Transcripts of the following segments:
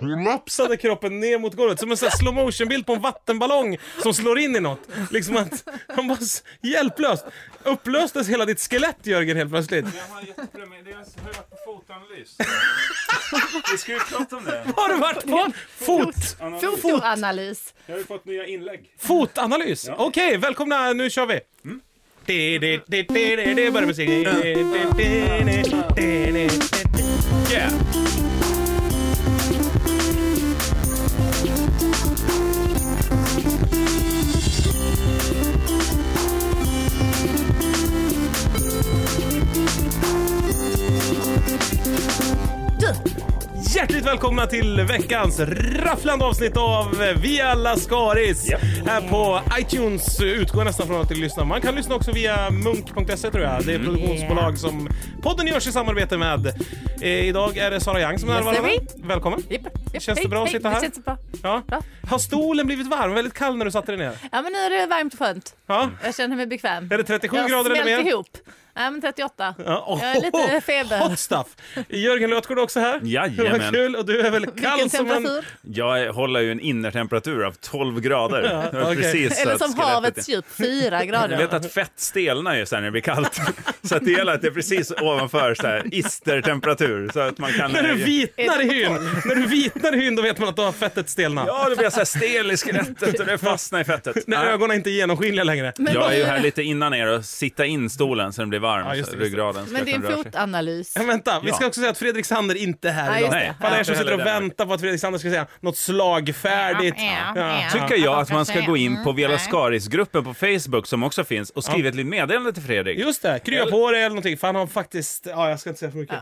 kollapsade kroppen ner mot golvet. Som en sån här slow motion bild på en vattenballong som slår in i något. Liksom att han var s- hjälplöst. Upplöstes hela ditt skelett Jörgen helt plötsligt. Jag har jätteproblem med det. Jag har varit på fotanalys. Vi ska ju prata om det. Har du varit på fot? Analys. Fotoanalys. Jag har ju fått nya inlägg. Fotanalys? Ja. Okej, välkomna, nu kör vi! Mm. Det, det, det, det, det, det börjar musik. Det, det, det, det, det, det, det. Yeah. Hjärtligt välkomna till veckans rafflande avsnitt av Vi alla Skaris. Japp. Här på iTunes utgår nästan från att du lyssnar. Man kan lyssna också via munk.se tror jag. Det är ett produktionsbolag som podden görs i samarbete med. Eh, idag är det Sara Young som är Yes, närvarande. hej. Välkommen. Japp, japp, Känns det hej, bra att hej, sitta här? Det känns bra. Ja. Bra. Har stolen blivit varm? Väldigt kall när du satte dig ner. Ja, men nu är det varmt och skönt. Ja. Jag känner mig bekväm. Är det 37 jag grader eller smälter mer? ihop. Nej, men 38. Ja, oh, Jag är lite feber. Hot stuff! Jörgen Lötgård är också här. Jajamän. Vad kul! Och du är väl Vilken kall som en... temperatur. Jag håller ju en innertemperatur av 12 grader. Det var okej. precis så Eller att som skelettet- havets djup, 4 Jag grader. vet att fett stelnar ju sen när det blir kallt. Så att det gäller att det är precis ovanför så här, istertemperatur. Så att man kan... När du vitnar i hyn, när du vitnar i hyn då vet man att du har fettet stelnat. Ja, det blir så här stel i skelettet och det fastnar i fettet. När Ja. ögonen inte är genomskinliga längre. Men Jag är ju vad- här lite innan er och sitta in stolen så den blir varm. Ja, just så det, just det. ryggraden ska Men det är kunna en röra sig. fotanalys. Men vänta, vi ska Ja. också säga att Fredrik Sander inte är här Ja, idag. just det. Nej, För alla er inte som sitter och heller där. väntar på att Fredrik Sander ska säga något slagfärdigt. Ja, Ja. ja. Tycker jag Mm, att man ska gå in på Vela Skaris-gruppen på Facebook som också finns och skriva ett litet meddelande till Fredrik. Just det, krya på dig eller någonting. För han har faktiskt, ja jag ska inte säga för mycket.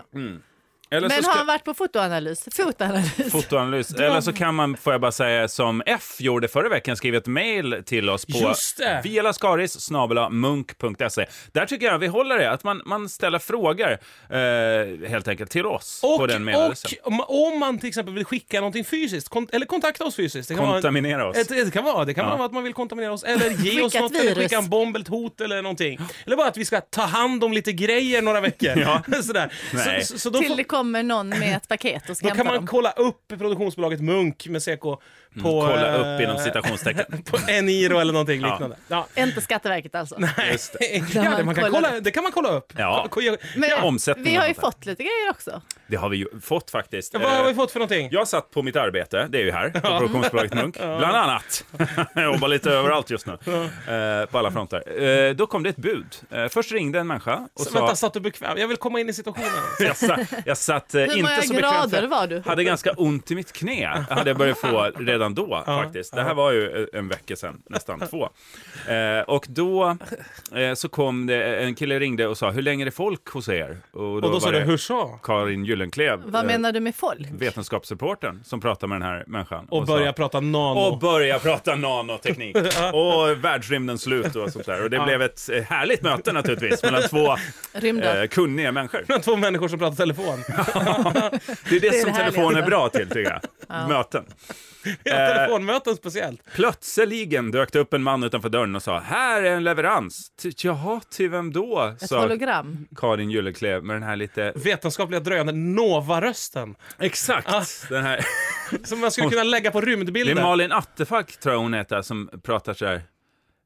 Eller så Men ska... har han varit på fotoanalys? Fotanalys. Fotoanalys. Eller så kan man, får jag bara säga, som F gjorde förra veckan, skriva ett mejl till oss på Just det. vialaskaris.munk.se. Där tycker jag vi håller det, att man, man ställer frågor eh, helt enkelt till oss Och, på den mejladressen. och om, om man till exempel vill skicka någonting fysiskt, kon- eller kontakta oss fysiskt. Det kan Kontaminera vara oss. en, Ett, det kan vara, det kan Ja. vara att man vill kontaminera oss, eller ge Skicka oss ett något, eller virus. skicka en bomb, eller ett hot eller någonting. Eller bara att vi ska ta hand om lite grejer några veckor. Ja. Sådär. Nej. Så, så, så då Till får, det kommer någon med ett paket och Då ska hämta kan man dem. kolla upp produktionsbolaget Munk med CK på... Mm, Kolla eh, upp inom citationstecken. På Eniro eller någonting Ja. liknande. Ja. Inte Skatteverket alltså. Just det. Ja, man det, man kan kollar kolla, det kan man kolla upp. Ja. Ko- ko- Men Ja, omsättningen vi har och ju sånt där. fått lite grejer också. Det har vi ju fått faktiskt. Vad har Eh, vi fått för någonting? Jag satt på mitt arbete, det är ju här, på produktionsbolaget Munk, bland annat. jag jobbar lite överallt just nu, eh, på alla fronter. Eh, då kom det ett bud. Eh, först ringde en människa och Så, sa... vänta, satt du bekväm? Jag vill komma in i situationen. jag satt, jag satt eh, Hur många inte så bekvämt. grader för- var du? Hade ganska ont i mitt knä, hade jag börjat få redan då faktiskt. Det här var ju eh, en vecka sedan, nästan två. Eh, och då eh, så kom det, en kille ringde och sa, hur länge är det folk hos er? då, Och då sa var du det hursa Karin Gyllenklev, Vad eh, menar du med folk? vetenskapsreportern, som pratade med den här människan. och sa- börja prata nano. och börja prata nanoteknik och världsrymdens slut och sånt där. Och det blev ett eh, härligt möte naturligtvis mellan två Rymden? eh, kunniga människor. Två människor som pratar telefon. Det är det, är som det härliga. telefon är bra till, tycker jag. Möten. Ja, telefonmöten speciellt. Plötsligen dök det upp en man utanför dörren och sa “Här är en leverans”. Ty- Jaha, till vem då? Ett sa hologram? Karin Gyllenklev med den här lite... Vetenskapliga dröjande Nova-rösten. Exakt! Den här... Som man skulle kunna lägga på Det är rymdbilder. Malin Attefakt, tror jag hon heter, som pratar så här.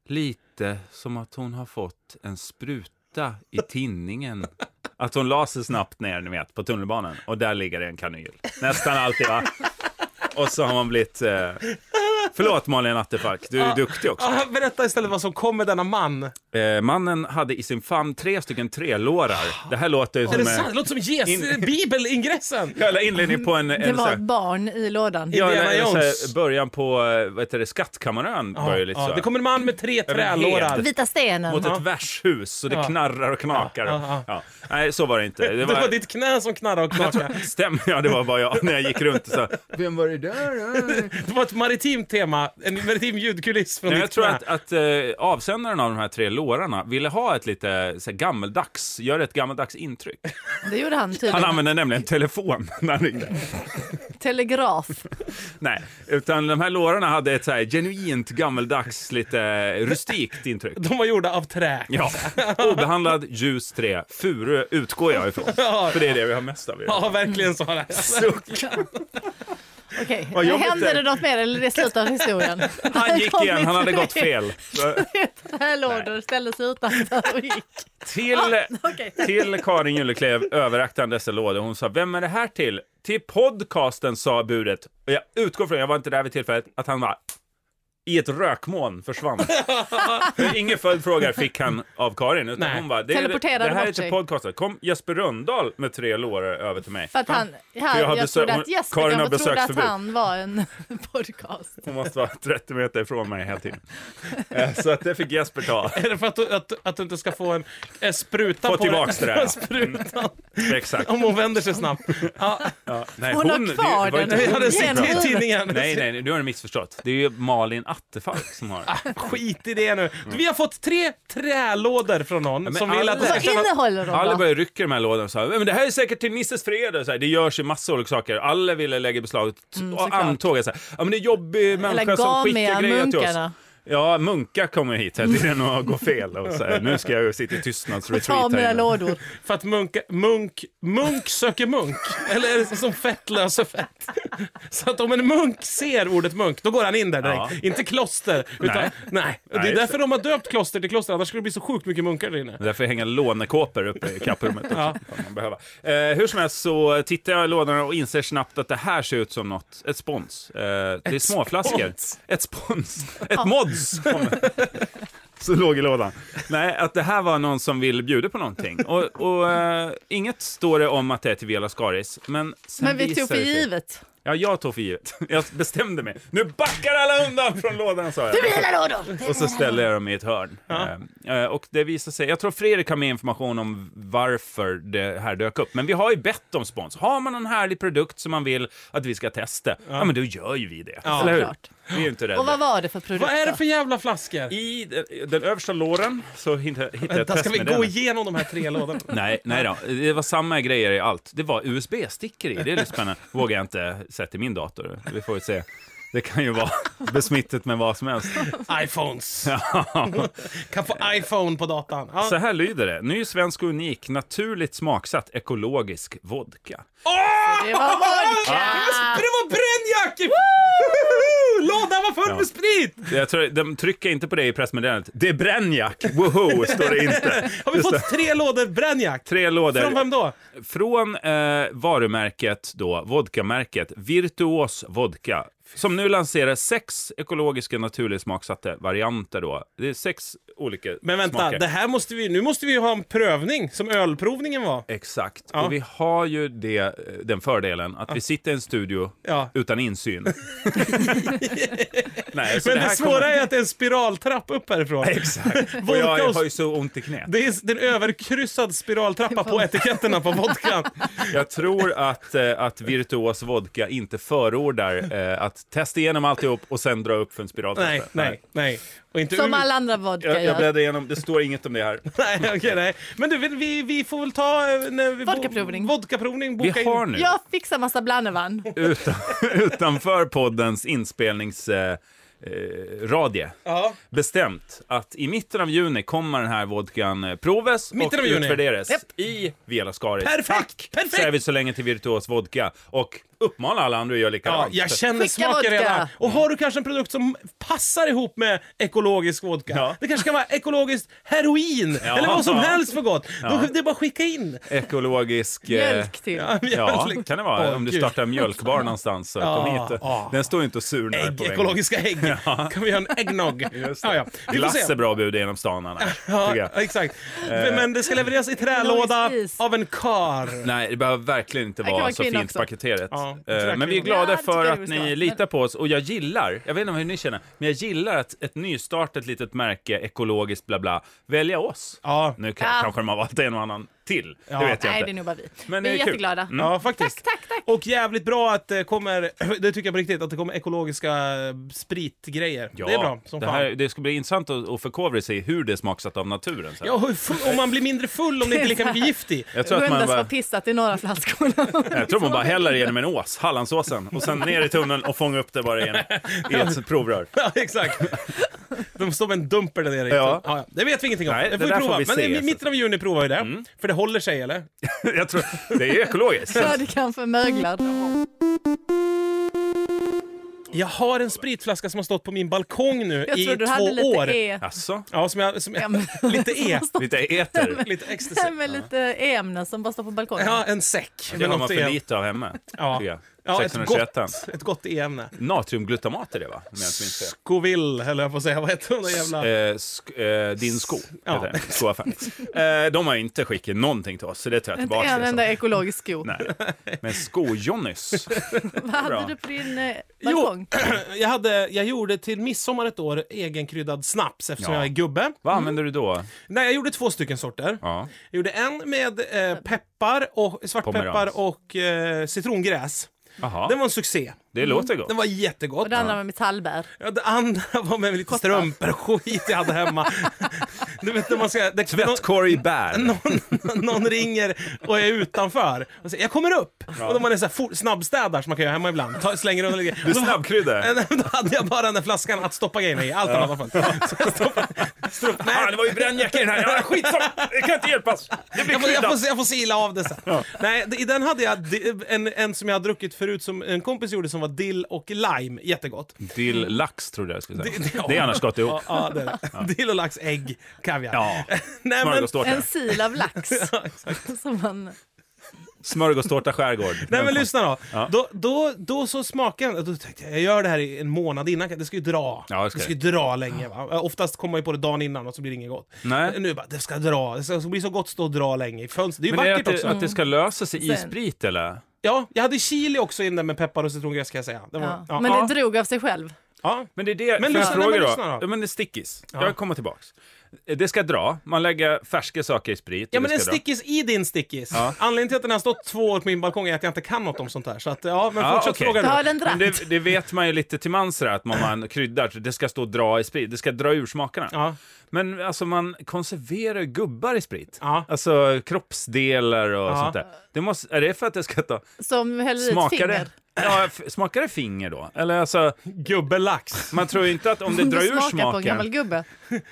Lite som att hon har fått en spruta i tinningen. Att hon la sig snabbt ner, ni vet, på tunnelbanan. Och där ligger det en kanyl. Nästan alltid, va? Och så har man blivit... Eh... Förlåt, Malin Attefakt. Du är duktig också. Ah, berätta istället vad som kom med denna man. Eh, mannen hade i sin famn tre stycken trelårar. Det här låter ju Är som det sant? Det en låter som Jesus, In- bibelingressen. hela inledningen på en... en Det så var här- ett barn i lådan. Ja, Indiana eller så här, Jones. början på, eh, vad heter det, Skattkammarön börjar ju lite Ja, så. Ah, det kommer en man med tre men helt- trälårar. Vita stenen. Mot ett värdshus, så det Ja. knarrar och knakar. Ja, ja, Ja. Nej, så var det inte. Det var, ditt knä som knarrade och knakade. Stäm, ja, det var bara jag när jag gick runt och sa... Vem var det där? Det var ett maritimt tema, en maritim ljudkuliss från Nej, ditt jag tror knä. att, att eh, avsändaren av de här tre lårarna ville ha ett lite så här, gammeldags, gör ett gammeldags intryck. Det gjorde han Han tydligen. använde nämligen telefon när han ringde. Telegraf. Nej, utan de här lårarna hade ett så här genuint gammeldags, lite rustikt intryck. De var gjorda av trä. Ja, obehandlad ljus trä, furu utgår jag ifrån. Ja. För det är det vi har mest av. i det här. Ja, verkligen Sara. Suck. Och Okej, Vad jobbigt händer det det är. något mer eller är det slut av historien? Han gick kom igen, han inte hade gått med. fel. Så, Här lådor ställde sig utanför och gick. Till, Okej. till Karin Juleklev överräckte han dessa lådor. Hon sa, vem är det här till? Till podcasten, sa budet. Och jag utgår från, jag var inte där vid tillfället, att han var i ett rökmoln försvann. För Inga följdfrågor fick han av Karin, utan Nej. hon bara, det, är- Teleporterade det här är bort till sig. podcasten. Kom Jesper Rönndahl med tre lårar över till mig. För att han, För han, jag har jag, besök- trodde hon- att Jesper Karin har kanske trodde att besöksförbud. han var en podcast. Hon måste vara 30 meter ifrån mig hela tiden. Eh, Så att det fick Jesper ta. Är det för att du, att, att du inte ska få en, en spruta Få på dig? tillbaks det där, ja. Sprutan, Exakt. om hon vänder sig snabbt. Ja, Ja, nej, Hon har det kvar var den. inte jag hon hade som sett Genom pratade. det i tidningen. Nej, nej, nej, du har du missförstått. Det är ju Malin Attefall som har den. Skit i det nu. Vi har fått tre trälådor från någon men som vill att du alla- ska Vad känna... innehåller Alla de då? börjar rycka i de här lådorna och säga men det här är säkert till Nisses fredag. och Så här, det görs ju massa olika saker. Alla ville lägga beslag Mm, såklart. och antåg att så här, ja, men det är jobbig människa Eller som skickar grejer till oss. Gamia-munkarna. Ja, munkar kommer hit hela tiden och går fel. Och så här, nu ska jag ju sitta i tystnadsretreat Ta här mina inne. lådor. För att munka, munk, munk söker munk. Eller är det som fett löser fett? Så att om en munk ser ordet munk, då går han in där direkt. Ja. Inte kloster. Utan, Nej. nej. Det är Nej, just därför de har döpt kloster till kloster, annars skulle det bli så sjukt mycket munkar där inne. Därför hänger lånekåpor uppe i kapprummet också. om Man behöver. Eh, hur som helst så tittar jag i lådorna och inser snabbt att det här ser ut som något, ett spons. Eh, det är småflaskor. spons. Ett spons. Ett mods. kommer. Så låg i lådan. Nej, att det här var någon som vill bjuda på någonting. Och, och eh, inget står det om att det är till Viola Skaris. Men, sen Men vi visar tog för det sig- givet. Ja, jag tog för givet. Jag bestämde mig. Nu backar alla undan från lådan, sa jag. Och så ställer jag dem i ett hörn. Eh, eh, Och det visar sig, jag tror Fredrik har mer information om varför det här dök upp. Men vi har ju bett om spons. Har man en härlig produkt som man vill att vi ska testa, ja, men då gör ju vi det. Ja. Eller hur? Såklart. Vi är ju inte rädda. Och vad var det för produkt Vad är det då? för jävla flaskor? I den, den översta låren så hittade hittade jag ett Vänta, test ska vi med gå den. igenom de här tre lådorna? Nej, nej då. Det var samma grejer i allt. Det var USB-stickor i. Det är lite spännande. Vågar jag inte sätta i min dator. Vi får väl se. Det kan ju vara besmittet med vad som helst. iPhones. kan få iPhone på datan. Ja. Så här lyder det. Ny svensk och unik, naturligt smaksatt ekologisk vodka. Det var Men vodka! det var brännjack! Lådan var full med sprit! Jag tror, de trycker inte på det i pressmeddelandet. Det är brännjack! Woho, står det inte. Har vi fått tre lådor brännjack? Tre lådor. Från vem då? Från eh, varumärket då, vodkamärket Virtuos Vodka, som nu lanserar sex ekologiska naturligt smaksatta varianter då. Det är sex olika Men vänta, smaker. det här måste vi, nu måste vi ju ha en prövning som ölprovningen var. Exakt, Ja. och vi har ju det, eh, den fördelen att vi sitter i en studio Ja. utan insyn. Nej, så Men det, här svåra kommer- är att det är en spiraltrapp upp härifrån. Exakt. Och Vodka jag och- har ju så ont i knät. Det är det är en överkryssad spiraltrappa på etiketterna på vodkan. Jag tror att, eh, att Virtuos Vodka inte förordar eh, att testa igenom alltihop och sen dra upp för en spiraltrappe. Nej, nej, nej. Och inte Som ur- alla andra vodka Jag, jag gör. bläddrar igenom, det står inget om det här. Nej, okej, nej. Men du, vi- vi, vi får väl ta... eh, När vi bo- Vodkaprovning. Vodkaprovning, boka Vi har in. nu, Jag fixar massa blandevann. utan, utanför poddens inspelningsradie, eh, radie, Ja. bestämt att i mitten av juni kommer den här vodkan eh, provas Mitten och av juni. utvärderas Japp. i Vela Skaris. Perfekt! Så är Perfekt! vi så länge till Virtuos Vodka och uppmana alla andra att göra Ja, likadant. jag känner Skicka smaken vodka. redan. Och har Mm. du kanske en produkt som passar ihop med ekologisk vodka? Ja. Det kanske kan vara ekologiskt heroin Ja. eller vad som Ja. helst för gott. Då, det är bara att skicka in. Ekologisk... eh, Mjölk till. Ja, Ja, mjölk. kan det vara. Åh, Om du gud. startar en mjölkbar någonstans så kom Ja, hit. ja. Den står ju inte och surnar Ägg, på vägen. ekologiska ägg. Kan vi göra en äggnog? Ja, ja. Vi får Glass är se. bra bud genom stan annars, tycker jag. Ja, exakt. Eh. Men det ska levereras i trälåda Logiskt is. av en kar. Nej, det behöver verkligen inte kan vara vara så kvinna fint också. paketerat. Ja, Eh, tyvärr men vi är kvinna. glada Ja, det för tycker att jag ni vi ska. Men- litar på oss och jag gillar, jag vet inte hur ni känner, men jag gillar att ett nystartat litet märke, ekologiskt bla bla, välja oss. Ja. Nu kan, Ja. kanske de har valt en och annan till, Ja. det vet jag Nej, det inte. är nog bara vi. Men vi det är är kul. Mm. jätteglada. Ja, faktiskt. Tack, tack, tack. Och jävligt bra att det kommer, det tycker jag på riktigt, att det kommer ekologiska eh, spritgrejer. Ja, det är bra som det, fan. här, det ska bli intressant att, att förkovra sig i hur det är smaksatt av naturen. Så. Ja, hur full, om man blir mindre full om det inte är lika mycket gift i. Jag Du tror att man undrar som har bara, pissat i några flaskorna. jag tror man bara häller genom en ås, Hallandsåsen, och sen ner i tunneln och fångar upp det bara igen i ett provrör. Ja, exakt. De står med en dumper där nere. Ja. Ja. Ja, det vet vi ingenting om. Nej, det det får vi där prova. får vi Men se, alltså. Mm. i så. mitten av juni provar vi det. För det håller sig, eller? Jag tror, det är ju ekologiskt. Rödkamp för möglar. Jag har en spritflaska som har stått på min balkong nu Jag i tror två du hade lite år. E. Alltså, Ja, som jag, som jag, Ja, men- lite E. lite eter. Lite ecstasy. Nej, men lite E-ämnen som bara står på balkongen. Ja, en säck. Det har man något för E. lite av hemma. Ja. tycker jag. Ja, ett 621. gott, ett gott E-ämne. Natriumglutamat är det va? Om jag inte minns fel. Scoville, höll jag på att säga. Vad heter den där jävla... Eh, sk- eh, din sko, Ja. heter den. skoaffären. Eh, de har inte skickat någonting till oss, så det tar jag Inte tillbaka. en liksom. enda ekologisk sko. Nej. Men sko-Johnnys. Vad hade Bra. du på din eh, Jo. balkong? Jag, hade, jag gjorde till midsommar ett år egenkryddad snaps eftersom Ja. jag är gubbe. Vad använder du då? Nej, jag gjorde två stycken sorter. Ja. Jag gjorde en med eh, peppar och, svartpeppar Pomerans. och eh, citrongräs. Aha. Den var en succé. Det låter gott. Den var jättegott. Och det andra var metallbär. Ja, det andra var med lite strumpor och skit jag hade hemma. du vet när man ska... Det, Tvättkorg i bär. någon, någon ringer och är utanför och säger jag kommer upp. Och då man är så här, for, snabbstädar som man kan göra hemma ibland. Ta, slänger undan lite Du snabbkryddar. Nej, men Då hade jag bara den där flaskan att stoppa grejerna i. Allt annat var fullt. Så jag stoppade- strupp- Ah, Nej, det var ju brännjacka i den här. Ja, skitsamma, det kan inte hjälpas. Det blir jag får, jag, kryddat. får, jag får sila av det sen. Nej, det- i den hade jag di- en, en som jag hade druckit förut som en kompis gjorde som var dill och lime. Jättegott. Dill lax trodde jag skulle säga. Det- det- ja. Det är annars gott ihop. Ja, ja, det är det. Dill och lax, ägg, kaviar. Ja. Nej, men, Smörgåstårta. En sil av lax. som man... Smörgåstårta skärgård. Nej men lyssna då. Ja. Då, då, då så smakade den, då tänkte jag, jag gör det här i en månad innan, det ska ju dra. Ja, det ska ju dra länge va. Eh, Oftast kommer man ju på det dagen innan och så blir det inget gott. Nej. Nu bara, det ska dra, det ska bli så gott att stå och dra länge i Mm. fönstret. Det är ju Men är det vackert att det, också. att det ska lösa sig i Sen. sprit eller? Ja, jag hade chili också i den där med peppar och citrongräs ska jag säga. Det var, ja. Ja. Ja, Men ja, det drog av sig själv. Men det är det, Men får jag lyssna, fråga men då? lyssna då. Ja, men det är stickis. Ja. Jag kommer tillbaks. Det ska dra, man lägger färska saker i sprit. och men det en ska dra. stickis i din stickis. Ja. Anledningen till att den har stått två år på min balkong är att jag inte kan något om sånt här. Så att, ja, men Ja, fortsätt Ah, okej. fråga Då har nu. den Men dratt. det, det vet man ju lite till mans sådär, att man, man kryddar, så det ska stå och dra i sprit, det ska dra ur smakerna. Ja. Men alltså man konserverar ju gubbar i sprit. Ja. Alltså kroppsdelar och Ja. sånt där. Det måste, är det för att det ska ta... Som häller i ett Smakar det? finger. Ja, f- smakar det finger då? Eller alltså, Gubbe lax. man tror ju inte att om det Som drar du ur smakar på en gammal smaken, gubbe.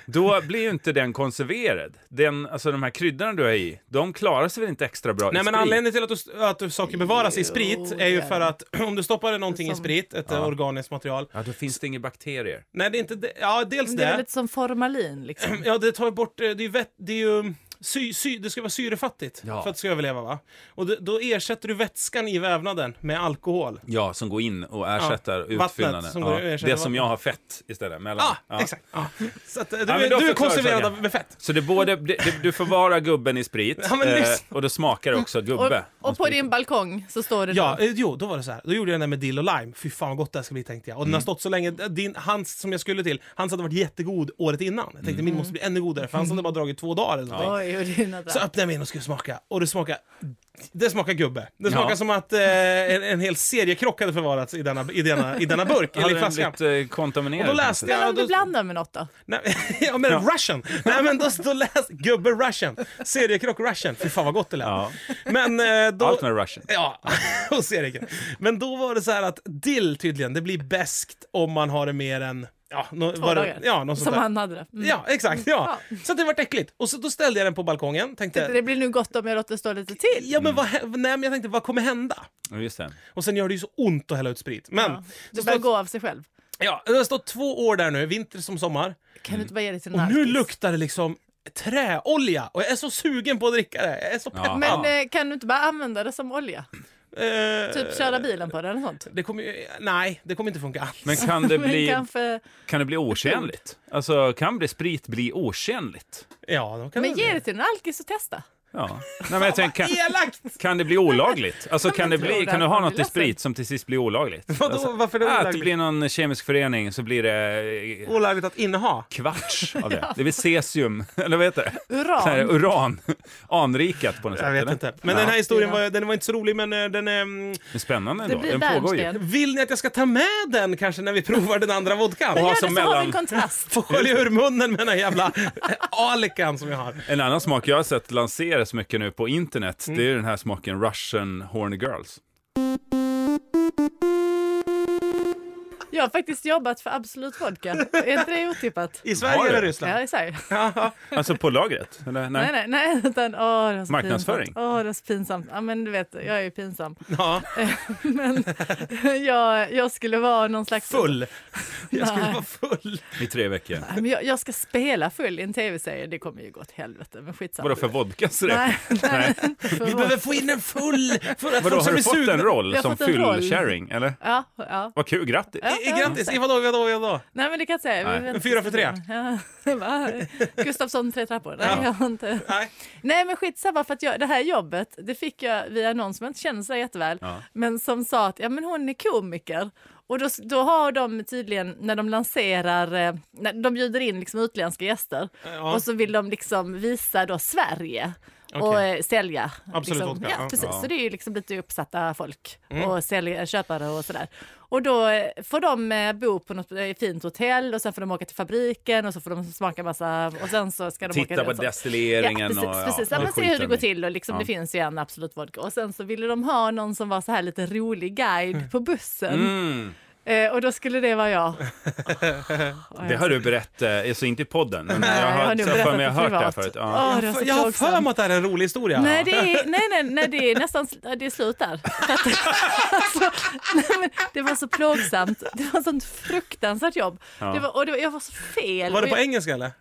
då blir ju inte den konserverad. Den, alltså de här kryddorna du har i, de klarar sig väl inte extra bra i Nej men sprit? anledningen till att, du, att du, saker bevaras i sprit är ju Jo, för det är att om du stoppar någonting i Som- sprit, ett eh, organiskt material. Ja, då finns det inga bakterier. Nej det är inte det. Ja dels Men det. Det är väl lite som formalin liksom. Ja det tar ju bort, eh, det är ju, vett, det är ju sy, sy, det ska vara syrefattigt Ja. för att det ska överleva va? Och det, då ersätter du vätskan i vävnaden med alkohol. Ja, som går in och ersätter vattnet utfyllnaden. som går in och ja, ersätter det som vattnet. jag har fett istället. Mellan. Ah, Ja. exakt! Ja. Så att, eh, du, men är- då du är förklarar konserverad saken. av- med fett. Så det är både, det, det, du förvarar gubben i sprit eh, Ja, men lyssna. och då smakar det också Och, gubbe. och på din balkong så står det Ja, då. eh, jo, då var det så här. Då gjorde jag den där med dill och lime. Fy fan vad gott det här ska bli tänkte jag. Och den har Mm. stått så länge. Eh, Din, hans som jag skulle till, hans hade varit jättegod året innan. Jag tänkte Mm. min måste bli ännu godare för hans hade bara dragit två dagar eller någonting. Oj, och dina dratt. Så öppnade jag min och skulle smaka och det smakar det smakar gubbe. Det Ja. smakar som att eh, en, en hel seriekrock hade förvarats i denna, i denna, i denna burk, eller i Hade den flaskan. blivit eh, kontaminerad? Och då läste kanske? jag... Men om då, du blandar med något då? nej, ja, men Russian! Nej men då, då läste gubbe Russian. Seriekrock Russian. Fy fan vad gott det lät. Ja. Men eh, då... Allt med russian. Ja, och seriekrock. Men då var det så här att dill tydligen, det blir bäst om man har det mer än... Ja, no, Två dagar. ja, något sånt Som där. han hade det. Mm. Ja, exakt. Ja. Så att det vart äckligt. Och så, då ställde jag den på balkongen. Tänkte, Det blir nu gott om jag låter det stå lite till. Ja, men vad, hä- nej, men jag tänkte, vad kommer hända? Ja, Just det. Och sen gör det ju så ont att hälla ut sprit. Men, Ja. så Det börjar står- gå av sig själv. ja, det har stått två år där nu, vinter som sommar. Kan du inte bara ge det till Mm. Och någon nu alkis? luktar det liksom träolja och jag är så sugen på att dricka det. Jag är så pepp. Ja. Men eh, kan du inte bara använda det som olja? Eh, Typ köra bilen på det eller något sånt? Det kommer ju, nej, det kommer inte funka alls. Men kan det Men bli, kanske... kan det bli otjänligt? Alltså, kan bli sprit bli otjänligt? Ja, de kan Men väl- ge det till en alkis och testa. Ja. Nej, men jag tänker, kan, Elakt! kan det bli olagligt? Alltså, kan, det bli, kan du ha något i sprit som till sist blir olagligt? Vadå, Alltså, varför är det äh, Att det olagligt? blir någon kemisk förening så blir det eh, Olagligt att inneha. kvarts av det. Det blir cesium, eller vad heter det? Så här, Uran. uran. Anrikat på något sätt. Jag vet eller? inte. Men Ja. den här historien var, den var inte så rolig, men eh, den är... mm, Det är spännande Det ändå. blir Den pågår ju. bärnsten. Vill ni att jag ska ta med den kanske när vi provar den andra vodkan? Och Gör ha det så som har vi mellan, en kontrast. Får skölja ur munnen med den här jävla alikan som jag har. en annan smak jag har sett lanseras mycket nu på internet, det är den här smaken Russian Horny Girls. Jag har faktiskt jobbat för Absolut Vodka. Är inte det otippat? I Har Sverige du? eller Ja, Ryssland? i Sverige. Ja. Alltså på lagret? Eller? Nej. Nej, nej, nej. Utan, åh, det var så Marknadsföring. pinsamt. Åh, det var så pinsamt. Ja, men du vet, jag är ju pinsam. ja. Men jag, jag skulle vara någon slags... Full. Jag skulle Nej. vara full. I tre veckor. Nej, men jag, jag ska spela full i en tv-serie. Det kommer ju gå åt helvete, men skitsamma. Vadå för vodkas räkning? Nej, nej. för Vi vad- behöver få in en full för att Vadå, folk har ska bli du fått en sugna. roll Jag har som fått en roll. fyllkärring? Eller? Ja, ja. Vad kul, grattis! Ja. I- i- Eh, Grattis! I vadå, vadå, vadå? Nej, men det kan jag säga. Nej. Vi vet inte. Fyra för tre. Ja. Va? Gustafsson tre trappor. Nej, Ja. jag har inte. Nej. Nej men skitsamma för att jag, det här jobbet det fick jag via någon som jag inte känner så jätteväl Ja. men som sa att ja, men hon är komiker. Och då, då har de tydligen när de lanserar, eh, när de bjuder in liksom utländska gäster Ja. och så vill de liksom visa då Sverige och Okej. eh, sälja. Absolut liksom. vodka, ja, ja. Mm. precis. Ja. Så det är ju liksom lite uppsatta folk och sälja, köpare och sådär. Och då eh, får de eh, bo på något eh, fint hotell och sen får de åka till fabriken och så får de smaka massa och sen så ska de åka Titta på och så- destilleringen Ja, och... precis, precis. Ja, men se hur det skiten går i. till. Och liksom, Ja. Det finns ju en Absolut Vodka. Och sen så ville de ha någon som var så här lite rolig guide på bussen. Mm. Eh, och då skulle det vara jag. Det har du berättat, alltså inte i podden, men Mm. Nej, jag jag har har, nog jag för mig jag har hört berättat det här privat. förut. Ja, Ja. det var Jag, så jag har plågsamt. för mig att det här är en rolig historia. Nej, det är, nej, nej, nej, det är nästan det är slut där. För att- alltså, nej, men det var så plågsamt. Det var sånt fruktansvärt jobb. Ja. Det var, och det var, jag var så fel. Var det Och på jag, engelska eller?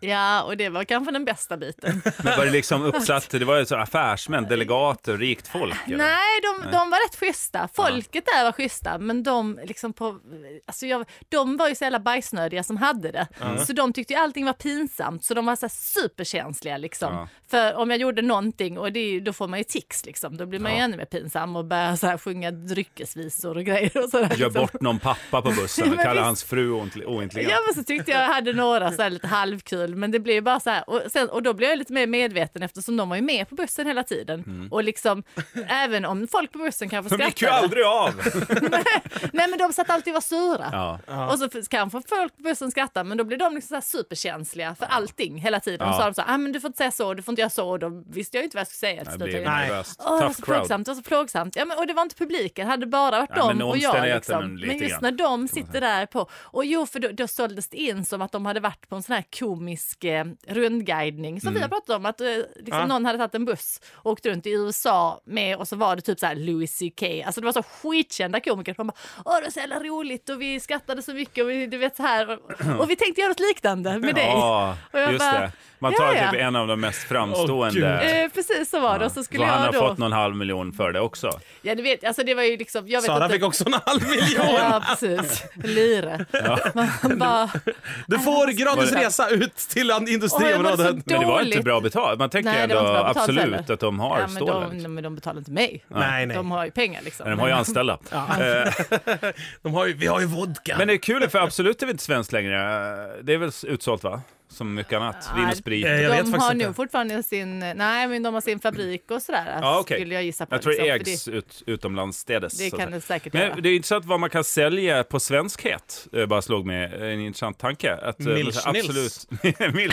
ja, och det var kanske den bästa biten. Men var det liksom uppsatt, det var ju så affärsmän, delegater, rikt folk? Eller? Nej, de, de var rätt schyssta. Folket där var schyssta, men de liksom på... Alltså jag, de var ju så jävla bajsnödiga som hade det. Så de tyckte ju allting var pinsamt, så de var så här superkänsliga liksom. Ja. För om jag gjorde någonting, och det, är ju- då får man ju tics liksom. Då blir man ju Ja. ännu mer pinsam och börjar så här sjunga dryckesvisor och grejer och sådär. Gör Liksom. bort någon pappa på bussen Men och kallar visst. hans fru oint- ointelligent. Ja men så tyckte jag jag hade några så här lite halvkul men det blev ju bara så här och, sen, och då blev jag lite mer medveten eftersom de var ju med på bussen hela tiden och liksom även om folk på bussen kanske Mm. De gick ju skrattade. aldrig av! Nej men de satt alltid och var sura. Ja. Och så f- kanske folk på bussen skrattar men då blir de liksom så här superkänsliga för allting hela tiden. Och Ja. så sa de så här, ah, men du får inte säga så, du får inte göra så. Och då visste jag ju inte vad jag skulle säga till Jag slut. blev Jag- Nej. nervös. Åh, det var Tough så crowd. plågsamt, det var så plågsamt. Ja, men, och det var inte publiken, det hade bara varit Ja, men dem och jag. omständigheten Liksom. lite Men just grann, när de sitter där på. Och jo, för då, då såldes det in som att de hade varit på en sån här komisk eh, rundguidning Mm. som vi har pratat om. Att eh, liksom, Ja. någon hade tagit en buss och åkt runt i USA med och så var det typ så här Louis CK. Alltså det var så skitkända komiker. De bara, åh det var så jävla roligt och vi skrattade så mycket och vi, du vet så här. Och, och vi tänkte göra något liknande med dig. Ja, Och jag just bara, det. Man tar ja, ja. typ en av de mest Åh, framstående. Eh, precis så var det. Och så skulle och han jag har då... fått någon halv miljon för det också. Ja, du vet, alltså det var ju liksom... Jag vet Sara inte... fick också en halv miljon. Ja, precis. Lyre. Man bara, Du får gratis Var det- resa ut till an- Oj, jag mår industriområdet. så Men det var inte Dåligt. bra betalt. Man tänker Nej, det ändå var inte bra betalt absolut heller. att de har ja, men, stålet. de, men de betalar inte mig. Nej, nej. De har ju pengar liksom. liksom?" Men de har ju anställda. Eh, De har ju, vi har ju vodka. Men det är kul för Absolut är vi inte svenskt längre. Eh, Det är väl utsålt va? Som mycket annat. Vin och sprit. Eh, jag vet de faktiskt har inte. nog fortfarande sin, nej men de har sin fabrik och sådär Alltså, Ja, okej. skulle jag gissa på. Jag tror det liksom, för ägs ut, utomlandsstädes. det, det så kan att det säkert säga. göra. Men det är intressant vad man kan sälja på svenskhet. Eh, Bara slog mig eh, en intressant tanke. Att, eh, Milch så här, Nils. Absolut. Mil-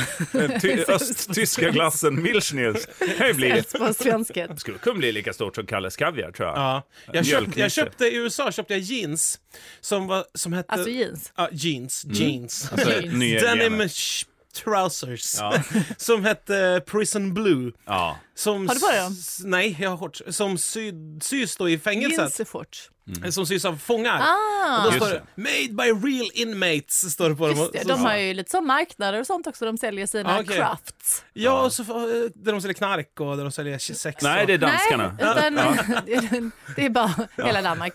eh, ty- Östtyska glassen Milchniels. Det blir Säljs på svenskhet. skulle kunna bli lika stort som Kalles Kaviar tror jag. Ja. Jag, köpt, Mjölknisse. jag köpte i USA köpte jag jeans som, var, som hette... Alltså jeans. Ja, jeans. Jeans. Alltså, Jeans. nya Denim grenar. sh- trousers. Som hette Prison Blue. Ja. Som Har du på dig dem? s- Nej, jag har shorts. Som sy, sys då i fängelset. Jeansshorts. Som sys av fångar. Ah, Då står Mm. Just det “Made by real inmates” står det på just det. dem. De har ju lite så marknader och sånt också. De säljer sina Ah, okej. crafts. Ja, och så, eh, där de säljer knark och där de säljer sex. Nej, och... det är danskarna. Nej, utan, det är bara hela Danmark.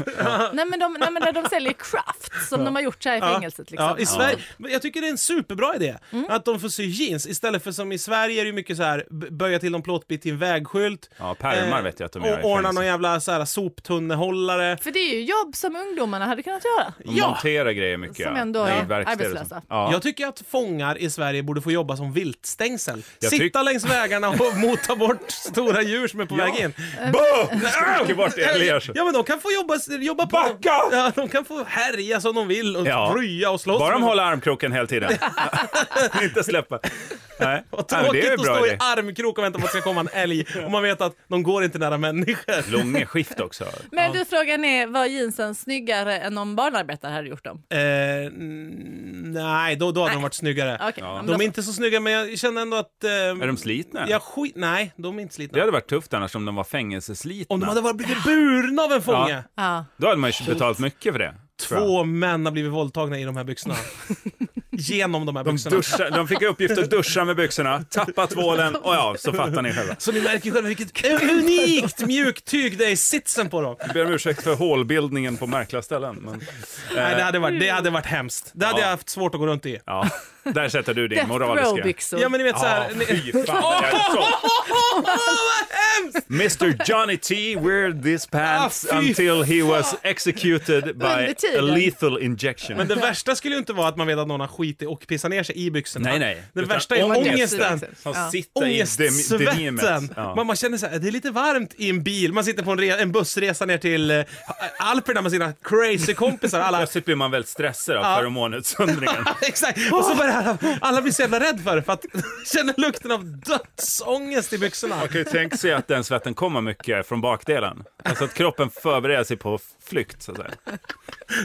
Nej, men de, nej, men där de säljer crafts som de har gjort så här i fängelset. Liksom. Mm. Ja, i Sverige, men Jag tycker det är en superbra idé att de får sy jeans istället för som i Sverige är det ju mycket så här b- böja till någon plåtbit till en vägskylt. Eh, Ja, pärmar vet jag att de gör i Och ordna fängelse. någon jävla så här, soptunnehållare. För det är ju jobb som ungdomarna hade kunnat göra. De Ja! monterar grejer mycket. Som ja. ändå Det är verkstäder och arbetslösa. sånt. Ja. Jag tycker att fångar i Sverige borde få jobba som viltstängsel. Jag tyck- Sitta längs vägarna och mota bort stora djur som är på väg in. Eh. Åker bort i Elias. Ja men de kan få jobba, jobba på... Backa! Ja, de kan få härja som de vill och Ja. rya och slåss. Bara de håller armkroken hela tiden. Inte släppa. Nej. Vad Nej, men tråkigt det är att bra stå i idé. armkrok och vänta på att det ska komma en älg och man vet att de går inte nära människor. Långeskift också. Men du, frågan är, var jeansen snyggare än om barnarbetare hade gjort dem? Eh, n- nej, då, då hade de varit snyggare. Okej, Ja. men då De är så. inte så snygga, men jag känner ändå att... Eh, Är de slitna? jag skit, nej, de är inte Det slitna. hade varit tufft annars om de var fängelseslitna. Om de hade varit blivit burna av en fånge. Ja. Ja. Då hade man ju betalat mycket för det. tror jag. Två män har blivit våldtagna i de här byxorna. Genom de här De, byxorna. duscha, de fick i uppgift att duscha med byxorna, tappa tvålen och ja, så fattar ni själva. Så ni märker ju själva vilket unikt mjukt tyg det är i sitsen på dem. Jag ber om ursäkt för hålbildningen på märkliga ställen. Men, Nej, det hade varit, det hade varit hemskt. Det hade Eh. Ja. jag haft svårt att gå runt i. ja, där sätter du din Death row moraliska... byxor. Ja, men ni vet så Ja, här. ni- fy fan. det är så. Mr Johnny T wear these pants Ah, fy until he was executed by Under a tiden. lethal injection. Men det värsta skulle ju inte vara att man vet att någon har skitit och pissat ner sig i byxorna. Nej, nej. Det Utan värsta är ångest. ångesten. Som Ja. sitter i dem- Ångestsvetten! demimet. Ja. Man, man känner så här, det är lite varmt i en bil. Man sitter på en, re- en bussresa ner till eh, Alperna med sina crazy kompisar. Alla, Plötsligt blir man väldigt stressad av feromonutsöndringen. exakt! Och så börjar alla, alla blir så jävla rädda för det, för att känner lukten av dödsångest i byxorna. Man kan ju tänka sig att den svetten kommer mycket från bakdelen. Alltså att kroppen förbereder sig på flykt, så att säga.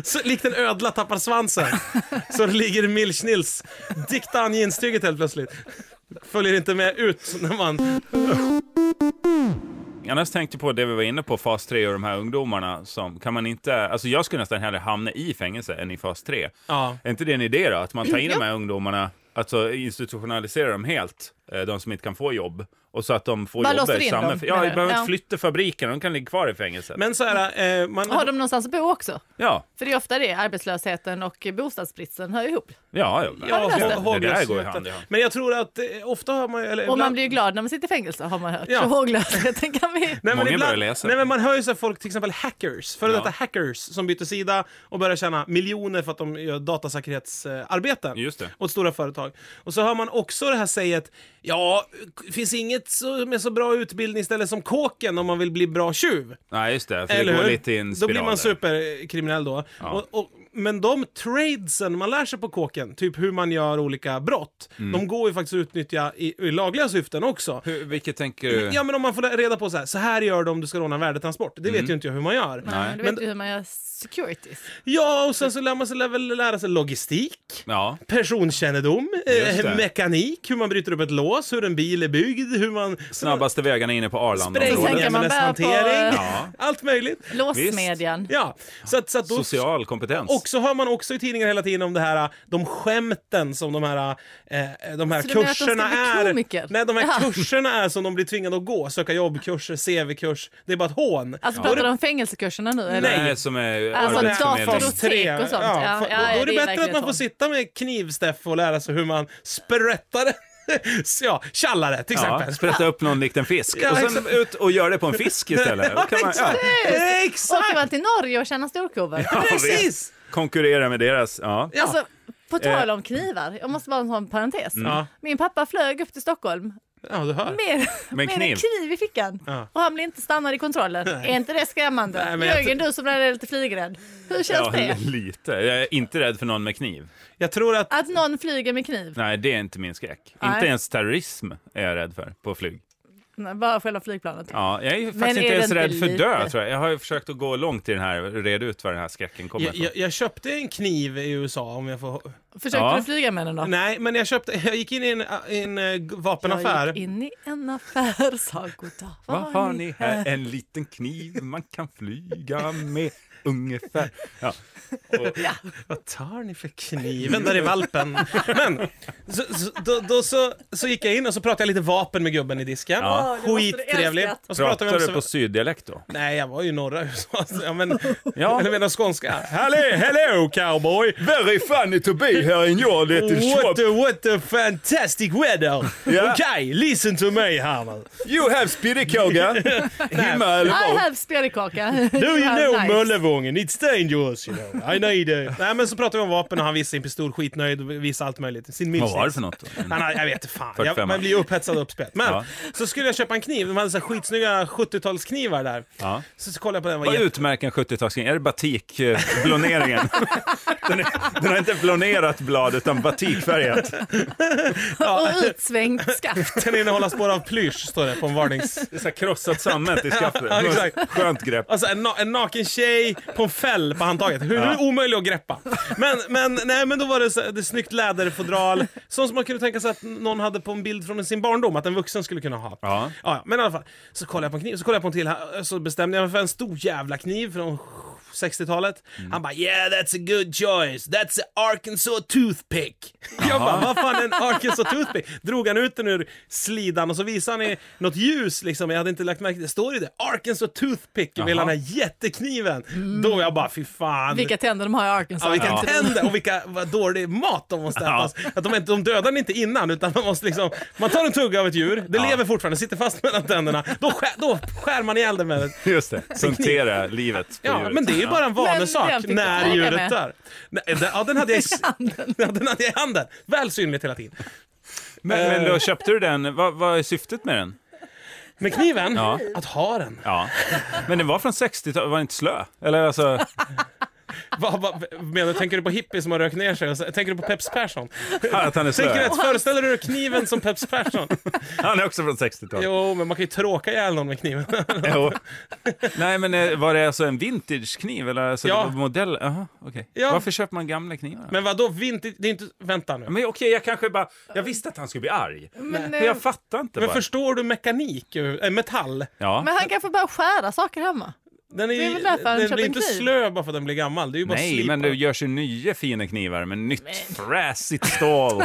Så, likt en ödla tappar svansen. Så det ligger Milchnils dikta an jeanstyget helt plötsligt. Följer inte med ut när man... Annars tänkte jag på det vi var inne på, fas 3 och de här ungdomarna som, kan man inte, alltså jag skulle nästan hellre hamna i fängelse än i fas 3. Ja. Är inte det en idé då? Att man tar in de här ungdomarna, alltså institutionaliserar dem helt, eh, de som inte kan få jobb. Och så att de får Bara jobb låser i in samma... dem, ja, menar de du? behöver Ja. inte flytta fabriken, de kan ligga kvar i fängelset. Men så här, eh, man... Har de någonstans att bo också? Ja, För det är ofta det, arbetslösheten och bostadsbristen hör ihop. ja, ja. Ja, det, hå- det där går ju håglösheten. hand i hand. Men jag tror att eh, ofta har man... Eller, Och man ibland- blir ju glad när man sitter i fängelse har man hört. Ja. Så håglösheten kan vi... Nej, men Många ibland, börjar läsa. Nej, men man hör ju så här folk, till exempel hackers, före Ja. detta hackers, som byter sida och börjar tjäna miljoner för att de gör datasäkerhetsarbeten Just det. åt stora företag. Och så hör man också det här säget, ja, k- finns inget så, med så bra utbildningsställe som kåken om man vill bli bra tjuv. Nej, just det, för det går lite i en Då spiral. blir man där. superkriminell då. Och, och, men de tradesen man lär sig på kåken, typ hur man gör olika brott, Mm. de går ju faktiskt att utnyttja i, i lagliga syften också. Hur, vilket tänker du? Ja men om man får reda på så här, så här gör de om du ska råna en värdetransport. Det Mm. vet ju inte jag hur man gör. Nej, du Men- vet ju hur man gör securities. Ja, och sen så lär man sig lär väl lära sig logistik, Ja. personkännedom, Just det. eh, mekanik, hur man bryter upp ett lås, hur en bil är byggd, hur man... Snabbaste vägarna inne på Spräng- Arlandaområdet. Sen kan man bära på- hantering, Ja. allt möjligt. Låsmedjan. Ja, så att, så att då... Social kompetens. Och så hör man också i tidningar hela tiden om det här, äh, de skämten som de här, eh, de här Så du menar att de ska kurserna bli komiker? är. Nej, de här Jaha. kurserna är som de blir tvingade att gå. Söka jobbkurser, CV-kurs. Det är bara ett hån. Alltså pratar du om fängelsekurserna nu? Eller? Nej, som är Alltså, arbetsförmedling. dator- Fas tre. och sånt. Ja, Ja, för- ja, då är det, det är bättre att man verkligen får så. sitta med knivsteff och lära sig hur man sprättar så ja, tjallare till Ja, exempel. sprätta upp någon likt en fisk Ja, och sen exakt. ut och göra det på en fisk istället. Då kan man, ja, Åker Exakt! man till Norge och tjänar storkovan? Ja, Precis! konkurrera med deras. Ja. Ja. Alltså, på Eh. tal om knivar, jag måste bara ha en parentes. Ja. Min pappa flög upp till Stockholm ja, du hör. med, med kniv. en kniv i fickan Ja. och han blev inte stannad i kontrollen. Är inte det skrämmande? Nej, men jag Jörgen, du som är lite flygrädd, hur känns Ja, det? lite. Jag är inte rädd för någon med kniv. Jag tror att... Att någon flyger med kniv, Nej, det är inte min skräck. Nej. Inte ens terrorism är jag rädd för på flyg. Nej, bara själva flygplanet. Ja, jag är ju faktiskt är inte det ens inte rädd för lite? dö, tror jag. Jag har ju försökt att gå långt i den här, reda ut var den här skräcken kommer Jag, ifrån. jag, jag köpte en kniv i USA om jag får... Försökte Ja. du flyga med den då? Nej, men jag köpte... Jag gick in i en, en eh, Jag vapenaffär. gick in i en affär, sa goddag. Vad har ni här? En liten kniv man kan flyga med ungefär. Ja. Och, Vad tar ni för kniven där i valpen? Men, så, så, då, då så, så gick jag in och så pratade jag lite vapen med gubben i disken. Ja. Åh, det måste du Skittrevlig. älskat. Och så pratade pratar vi du om... på syddialekt då? Nej, jag var ju i norra USA. så Jag men, Ja. Eller menar skånska. Hello, hello cowboy! Very funny to be here in your What a, what a fantastic weather! Ja. Okay, listen to me här nu. You have spittekåga hemma eller I have spjälkaka. Do you How know nice. Möllevången? It's dangerous you know. I need it. Nej men så pratade vi om vapen och han visade sin pistol skitnöjd och visade allt möjligt. Sin Vad var det milsnitz. för något då? Mm. Han har, jag vet inte fan. 45. Jag, man blir ju upphetsad och uppspelt. Men Ja. så skulle jag köpa en kniv. De hade så här skitsnygga 70-talsknivar där. Ja. Så, så kollade jag på den. Var Vad jätte... utmärker en 70-talskniv? Är det batikbloneringen? Den, är, den har inte flonerat blad utan batikfärgat. Och utsvängt skaft. Kan innehålla spår av plysch, står det på en varnings... Det är så här krossat sammet i skaftet. Ja, exakt. Skönt grepp. Alltså en, na- en naken tjej på en fäll på handtaget. Hur hur omöjlig att greppa. Men, men, nej, men då var det, så, det är snyggt läderfodral. Sånt som man kunde tänka sig att någon hade på en bild från sin barndom, att en vuxen skulle kunna ha. Ja. Ja, men i alla fall. Så kollade jag på en kniv, så kollade jag på en till, här, så bestämde jag mig för en stor jävla kniv från 60-talet. Han bara “Yeah that's a good choice, that's a Arkansas toothpick”. Jag bara “Vad fan är en Arkansas toothpick?” Drog han ut den ur slidan och så visade han i något ljus liksom, jag hade inte lagt märke till det. Står det det? Arkansas toothpick med hela den här jättekniven. Då var jag bara “Fy fan”. Vilka tänder de har i Arkansas. Ja, vilka Jag kan inte- tänder och vilka vad dålig mat de måste äta. Ja. Alltså, Att de, inte- de dödar den inte innan utan man måste liksom, man tar en tugga av ett djur, det lever fortfarande, sitter fast mellan tänderna, då skär, då skär man ihjäl det med det. Just det, punktera livet på Ja, djuret. men det är ju bara en den vanesak fick jag när med. djuret dör. Nej, den- Ja, den hade jag i ja, den hade jag i handen. Väl synligt hela tiden. men, men då köpte du den. Vad, vad är syftet med den? Med kniven, Ja. att ha den. Ja. Men den var från 60-talet, var den inte slö? Eller alltså, Vad, vad, menar, tänker du på hippie som har rökt ner sig? Och så- Tänker du på Peps Persson? att han är Tänker du slö? att, föreställer du dig kniven som Peps Persson? Han är också från 60-talet. Jo, men man kan ju tråka ihjäl någon med kniven. Jo. Nej, men eh, var det alltså en vintagekniv? Eller alltså Ja. det var modell? Jaha, okej. Ja. Varför köper man gamla knivar? Men vadå vintage? Det är inte... Vänta nu. Men okej, jag kanske bara... Jag visste att han skulle bli arg. Men, Men eh, jag fattar inte Men bara. förstår du mekanik? Äh, metall? Ja. men han kan få börja skära saker hemma. Den är, Det är väl därför han den köper blir en inte kniv. slö bara för att den blir gammal. Det är ju bara Nej, slip men på. det görs ju nya fina knivar med nytt fräsigt stål.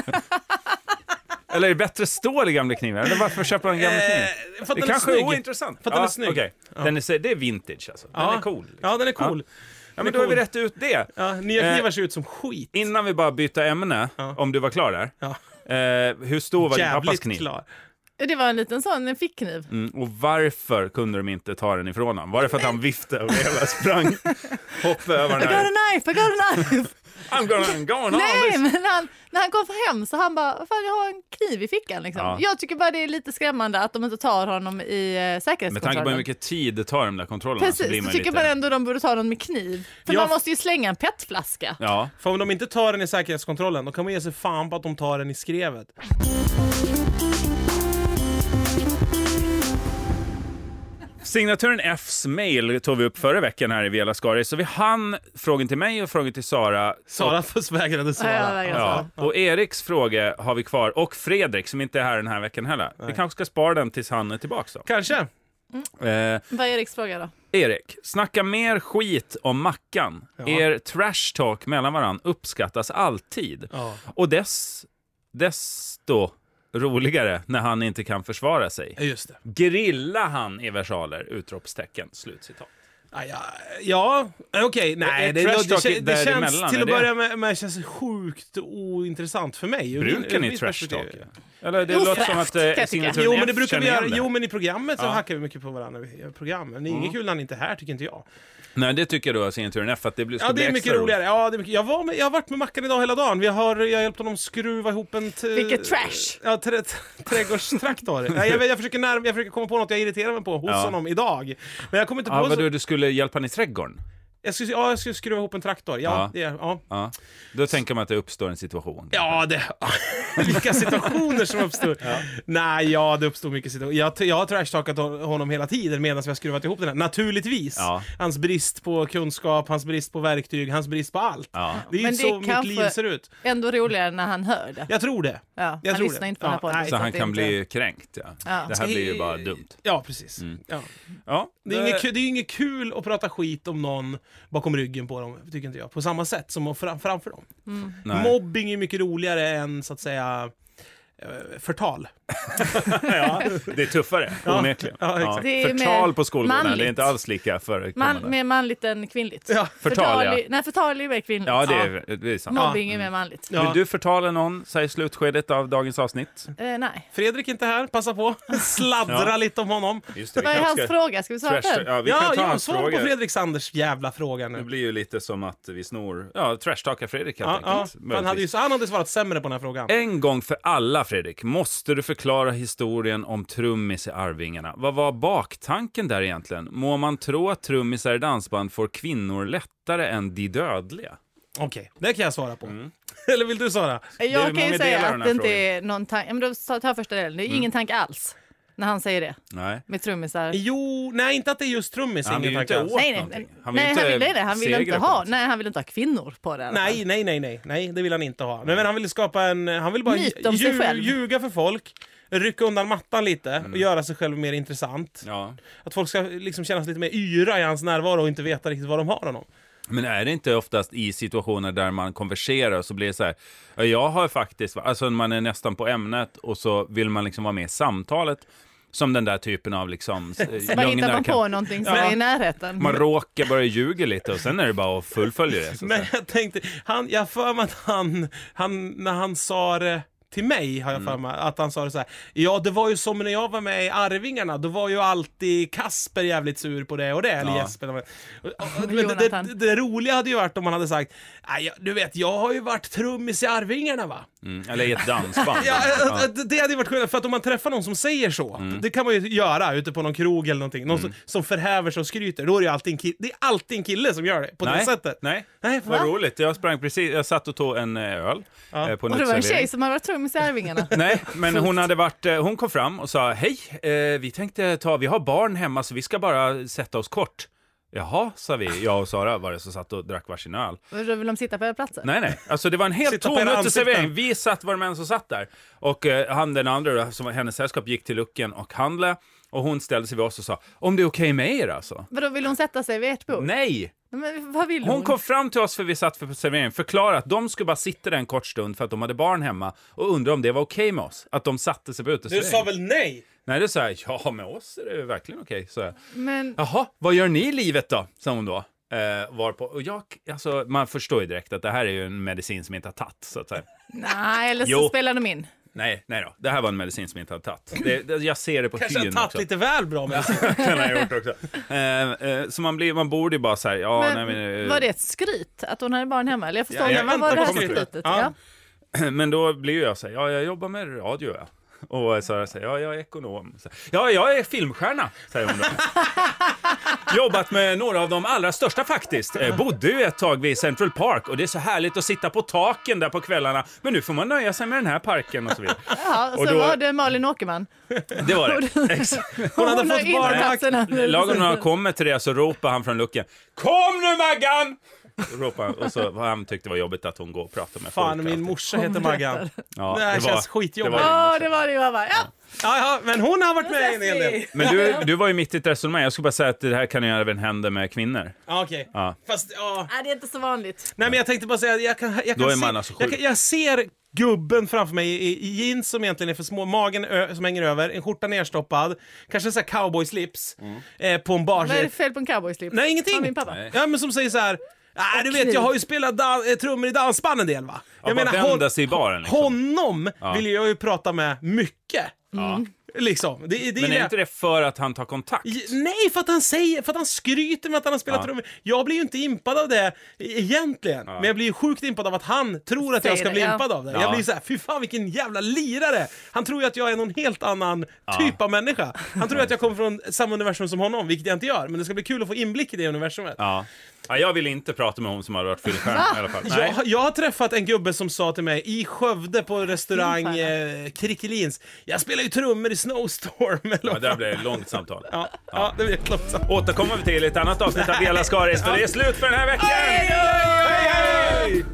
Eller är det bättre stål i gamla knivar? Eller varför köper man gamla knivar? Eh, för att Det den kanske är är snygg. ointressant. För att den är snygg. okej. Den är, så- det är vintage alltså. Den är cool. liksom. Ja, den är cool. Ja, men då har vi cool. rätt ut det. Ja, nya Eh, knivar ser ut som skit. Innan vi bara byter ämne, om du var klar där. Ja. Eh, hur stor var din pappas Jävligt kniv? klar. Det var en liten sån en fickkniv. Mm, och varför kunde de inte ta den ifrån honom? Var det för att han viftade och hela sprang, hoppade över den I got här? a knife, I got a knife! I'm gonna, I'm gonna Nej, men han, när han kom hem så han bara, "Vad fan jag har en kniv i fickan liksom. Ja. Jag tycker bara det är lite skrämmande att de inte tar honom i eh, Med tanke säkerhetskontrollen. på hur mycket tid det tar de där kontrollerna så blir Precis, man så ju tycker man ändå de borde ta någon med kniv. För Jag- man måste ju slänga en petflaska. Ja, För om de inte tar den i säkerhetskontrollen, då kan man ge sig fan på att de tar den i skrevet. signaturen Fs mail tog vi upp förra veckan här i Vela Skari, så vi hann frågan till mig och frågan till Sara. Sara först vägrade svara. Ja, jag vägrar Ja, svara. och Eriks fråga har vi kvar, och Fredrik som inte är här den här veckan heller. Vi kanske ska spara den tills han är tillbaka Kanske. då. Eh, Vad är Eriks fråga då? Erik, snacka mer skit om Mackan. Er trash talk mellan varandra uppskattas alltid. Ja. Och dess, desto roligare när han inte kan försvara sig. Ja, Just det. Grilla han i versaler! Utropstecken. Slutcitat. Ja, ja, ja eh, okej. Nej, det, trash det, talk det, det däremellan, känns till är att det? börja med, med känns sjukt ointressant för mig. Ur min- Brukar ur ni mitt trash perspektiv. talk? Eller det Ofräscht, låter som att kan jag eh, tycka. signaturen Jo men, det F brukar vi känner göra, igen det. jo men i programmet så Ja. Mm. hackar vi mycket på varandra i programmen. Det är inget kul när han inte är här tycker inte jag. Nej, det tycker du signaturen F, att det blir, ska Ja bli det är extra mycket roligare. Ja, det är mycket. Jag, var med, jag har varit med Mackan idag hela dagen. Vi har, jag har hjälpt honom skruva ihop en... t- Vilket trash! Ja, trä, t- trädgårdstraktor. Nej, jag, jag, försöker närma, jag försöker komma på något jag irriterar mig på hos Ja. honom idag. Men jag kommer inte på... Ja, så- vadå, du skulle hjälpa han i trädgården? jag, skulle, ja, jag skulle skruva ihop en traktor. Ja, Ja. Det, ja. Ja. Då tänker man att det uppstår en situation. Ja, det... Vilka situationer som uppstod. Nej, ja, det uppstod mycket situationer. Jag, jag har trashtalkat hon- honom hela tiden medan vi har skruvat ihop den här. Naturligtvis. Ja. Hans brist på kunskap, hans brist på verktyg, hans brist på allt. Ja. Det är ju Men det så mitt kanske- liv ser ut. Ändå roligare när han hör det. Jag tror det. Ja, jag han tror lyssnar det. inte på den här Ja, podden. nej. Så han att det kan inte- bli kränkt, ja. Ja. Det här blir ju bara dumt. Mm. Ja, precis. Ja. Ja, Det, är inget, ku- det är inget kul att prata skit om någon bakom ryggen på dem, tycker inte jag. På samma sätt som att fram, framför dem. Nej. Mobbing är mycket roligare än, så att säga, eh, förtal. ja, det är tuffare, onekligen. ja, exakt. Det är mer Förtal på skolgårdarna, manligt. det är inte alls lika förekommande. Man, mer manligt än kvinnligt. Ja. Förtal, ja. Förtal- Nej, förtal är ju mer kvinnligt. Ja, det är, det är sant. Mobbing är mer manligt. Ja. Vill du förtala någon så här i slutskedet av dagens avsnitt? Eh, nej. Fredrik är inte här, passa på. Sladdra Ja. lite om honom. Just det, Vad är hans fråga? Ska vi svara på den? Ja, vi Ja, kan ta ja hans svar på frågor. Fredrik Sanders jävla fråga Det nu. blir ju lite som att vi snor, ja, trashtalkar Fredrik helt Ja, ja. enkelt. Han, hade ju, möjligtvis. Eh. han hade svarat sämre på den här frågan. En gång för alla, Fredrik, måste du förklara historien om trummis i Arvingarna. Vad var baktanken där egentligen? Må man tro att trummisar i dansband får kvinnor lättare än de dödliga? Okej, det kan jag svara på. Mm. Eller vill du svara? är Jag kan många ju delar av säga den här att det inte frågan. Mm. är någon tanke. Men då sa- ta första delen. Det är ingen tanke alls när han säger det Nej. med trummisar. Jo, nej inte att det är just trummis. Han ingen vill ju inte tanke alls. åt Nej, nej, någonting. nej, Han han vill vill, inte nej, inte, han vill segra inte på ha. något Nej, han vill inte ha kvinnor på det. i alla fall. Nej, nej, nej, nej, nej, det vill han inte ha. Men, men han vill skapa en, han vill bara Myt om sig själv. ljuga för folk, rycka undan mattan lite Mm. och göra sig själv mer intressant. Ja. Att folk ska liksom känna sig lite mer yra i hans närvaro och inte veta riktigt vad de har honom. Men är det inte oftast i situationer där man konverserar så blir det så här, ja, jag har faktiskt, alltså man är nästan på ämnet och så vill man liksom vara med i samtalet som den där typen av liksom... Så bara hittar man på någonting som Ja. är i närheten. Man råkar börja ljuga lite och sen är det bara att fullfölja det. Så att Men säga. jag tänkte, han, jag har för mig att han, han, när han sa det till mig har jag Mm. för mig att han sa det så här. Ja, det var ju som när jag var med i Arvingarna, då var ju alltid Kasper jävligt sur på det och det, eller Ja. Jesper. Och- och- och- Men det, det, Jonathan. det roliga hade ju varit om man hade sagt, "Nej, jag- du vet, jag har ju varit trummis i Arvingarna va? Mm. Eller i ett dansband. Ja, eh, Ja. Mm. det- Det hade ju varit skillnad, för att om man träffar någon som säger så, det kan man ju göra ute på någon krog eller någonting, någon som, som förhäver sig och skryter, då är det ju alltid en kille, det är alltid en kille som gör det på det Nej, sättet. nej. Nej, Vad va? roligt, jag sprang precis, jag satt och tog en eh, öl eh, på en och det var en uteservering. tjej som hade varit trummis i Arvingarna. Nej, men hon, hade varit, eh, hon kom fram och sa hej, eh, vi tänkte ta, vi har barn hemma så vi ska bara sätta oss kort. Jaha, sa vi, jag och Sara var det som satt och drack varsin öl. Och då vill de sitta på era platser? Nej, nej, alltså det var en helt Sitta på tom era uteservering. ansikten. Vi satt, var det män som satt där. Och eh, han den andra, då, som var hennes sällskap, gick till lucken och handlade. Och hon ställde sig vid oss och sa, om det är okej med er alltså? Vadå, vill hon sätta sig vid ert bord? Nej! Men vad vill hon? Hon kom fram till oss för vi satt för serveringen, förklarade att de skulle bara sitta där en kort stund för att de hade barn hemma och undrade om det var okej med oss, att de satte sig på Du sa uteserveringen. väl nej? Nej, det sa jag. Ja, med oss är det verkligen okej, sa jag. Men Jaha, vad gör ni i livet då? sa hon då. Eh, varpå, och jag, alltså, man förstår ju direkt att det här är ju en medicin som inte har tagit, så att säga. nej, eller så Jo. spelar de in. Nej, nej då. Det här var en medicin som inte har tagit. Det, det, jag ser det på Kanske har hyn tagit också. lite väl bra med sig. Den har jag gjort också. Eh, eh, så man, blir, man borde ju bara så här, ja, men, nej, men, eh, var det ett skryt att hon hade barn hemma? Eller jag förstår Ja, jag inte, vad väntar var det här på skrytet. skrytet? Ja. Ja. Men då blir ju jag så här, ja, jag jobbar med radio, ja. Och Sara säger, ja, jag är ekonom. Så, här, ja, jag är filmstjärna, säger hon då. Jobbat med några av de allra största faktiskt. Eh, bodde ju ett tag vid Central Park och det är så härligt att sitta på taken där på kvällarna. Men nu får man nöja sig med den här parken och så vidare. Jaha, så Och då- var det Malin Åkerman. Det var det. Exakt. Hon hade har fått inte barnvakt. haft den här- Lagom när han kommer till det så ropar han från luckan, Kom nu Maggan! Ropar han, och så vad han tyckte var jobbigt att hon går och pratar med Fan, folk. min morsa heter Maggan. Ja, det här känns skitjobbigt. det var- Ja, det var det ju. Jag bara, ja. Ja, ja, men hon har varit med i en hel del. Sessi. Men du, du var ju mitt i ett resonemang. Jag skulle bara säga att det här kan ju även hända med kvinnor. Ja, okej. Ja. Fast, ja. Nej, det är inte så vanligt. Nej, men jag tänkte bara säga, att jag kan, jag Då kan är man se, alltså sjuk. jag, kan, jag ser gubben framför mig i, i jeans som egentligen är för små, magen ö, som hänger över, en skjorta nerstoppad, kanske en sån här cowboyslips Mm. eh, på en bar. Vad är det för fel på en cowboyslips? Nej, Har ingenting! min pappa. Ja, men som säger så här. Nej, du vet, kniv. jag har ju spelat dan- eh, trummor i dansband en del va? Jag bara vända hon- sig i baren, liksom. honom vill jag ju prata med mycket. Liksom. Det, det Men det- är inte det för att han tar kontakt? J- Nej, för att han säger, för att han skryter med att han har spelat Ja. trummor. Jag blir ju inte impad av det e- egentligen, men jag blir ju sjukt impad av att han tror att jag Säger ska det, bli ja. impad av det. Ja. Jag blir så här, fy fan vilken jävla lirare! Han tror ju att jag är någon helt annan typ av människa. Han tror ju att jag kommer från samma universum som honom, vilket jag inte gör, men det ska bli kul att få inblick i det universumet. Ja. ja. Jag vill inte prata med hon som har varit filmstjärna i alla fall. Nej. Jag, jag har träffat en gubbe som sa till mig i Skövde på restaurang eh, Krickelins Jag spelar ju trummor i Snowstorm eller Ja, vad det här fan. blir ett långt samtal. Ja, ja, det blir ett långt samtal. Återkommer vi till i ett annat avsnitt av Bela Skaris, för det är slut för den här veckan! Hej, hej!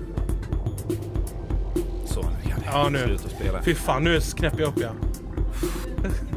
Så, nu kan jag Ja, nu. sluta spela. Fy fan, nu knäpper jag upp ja.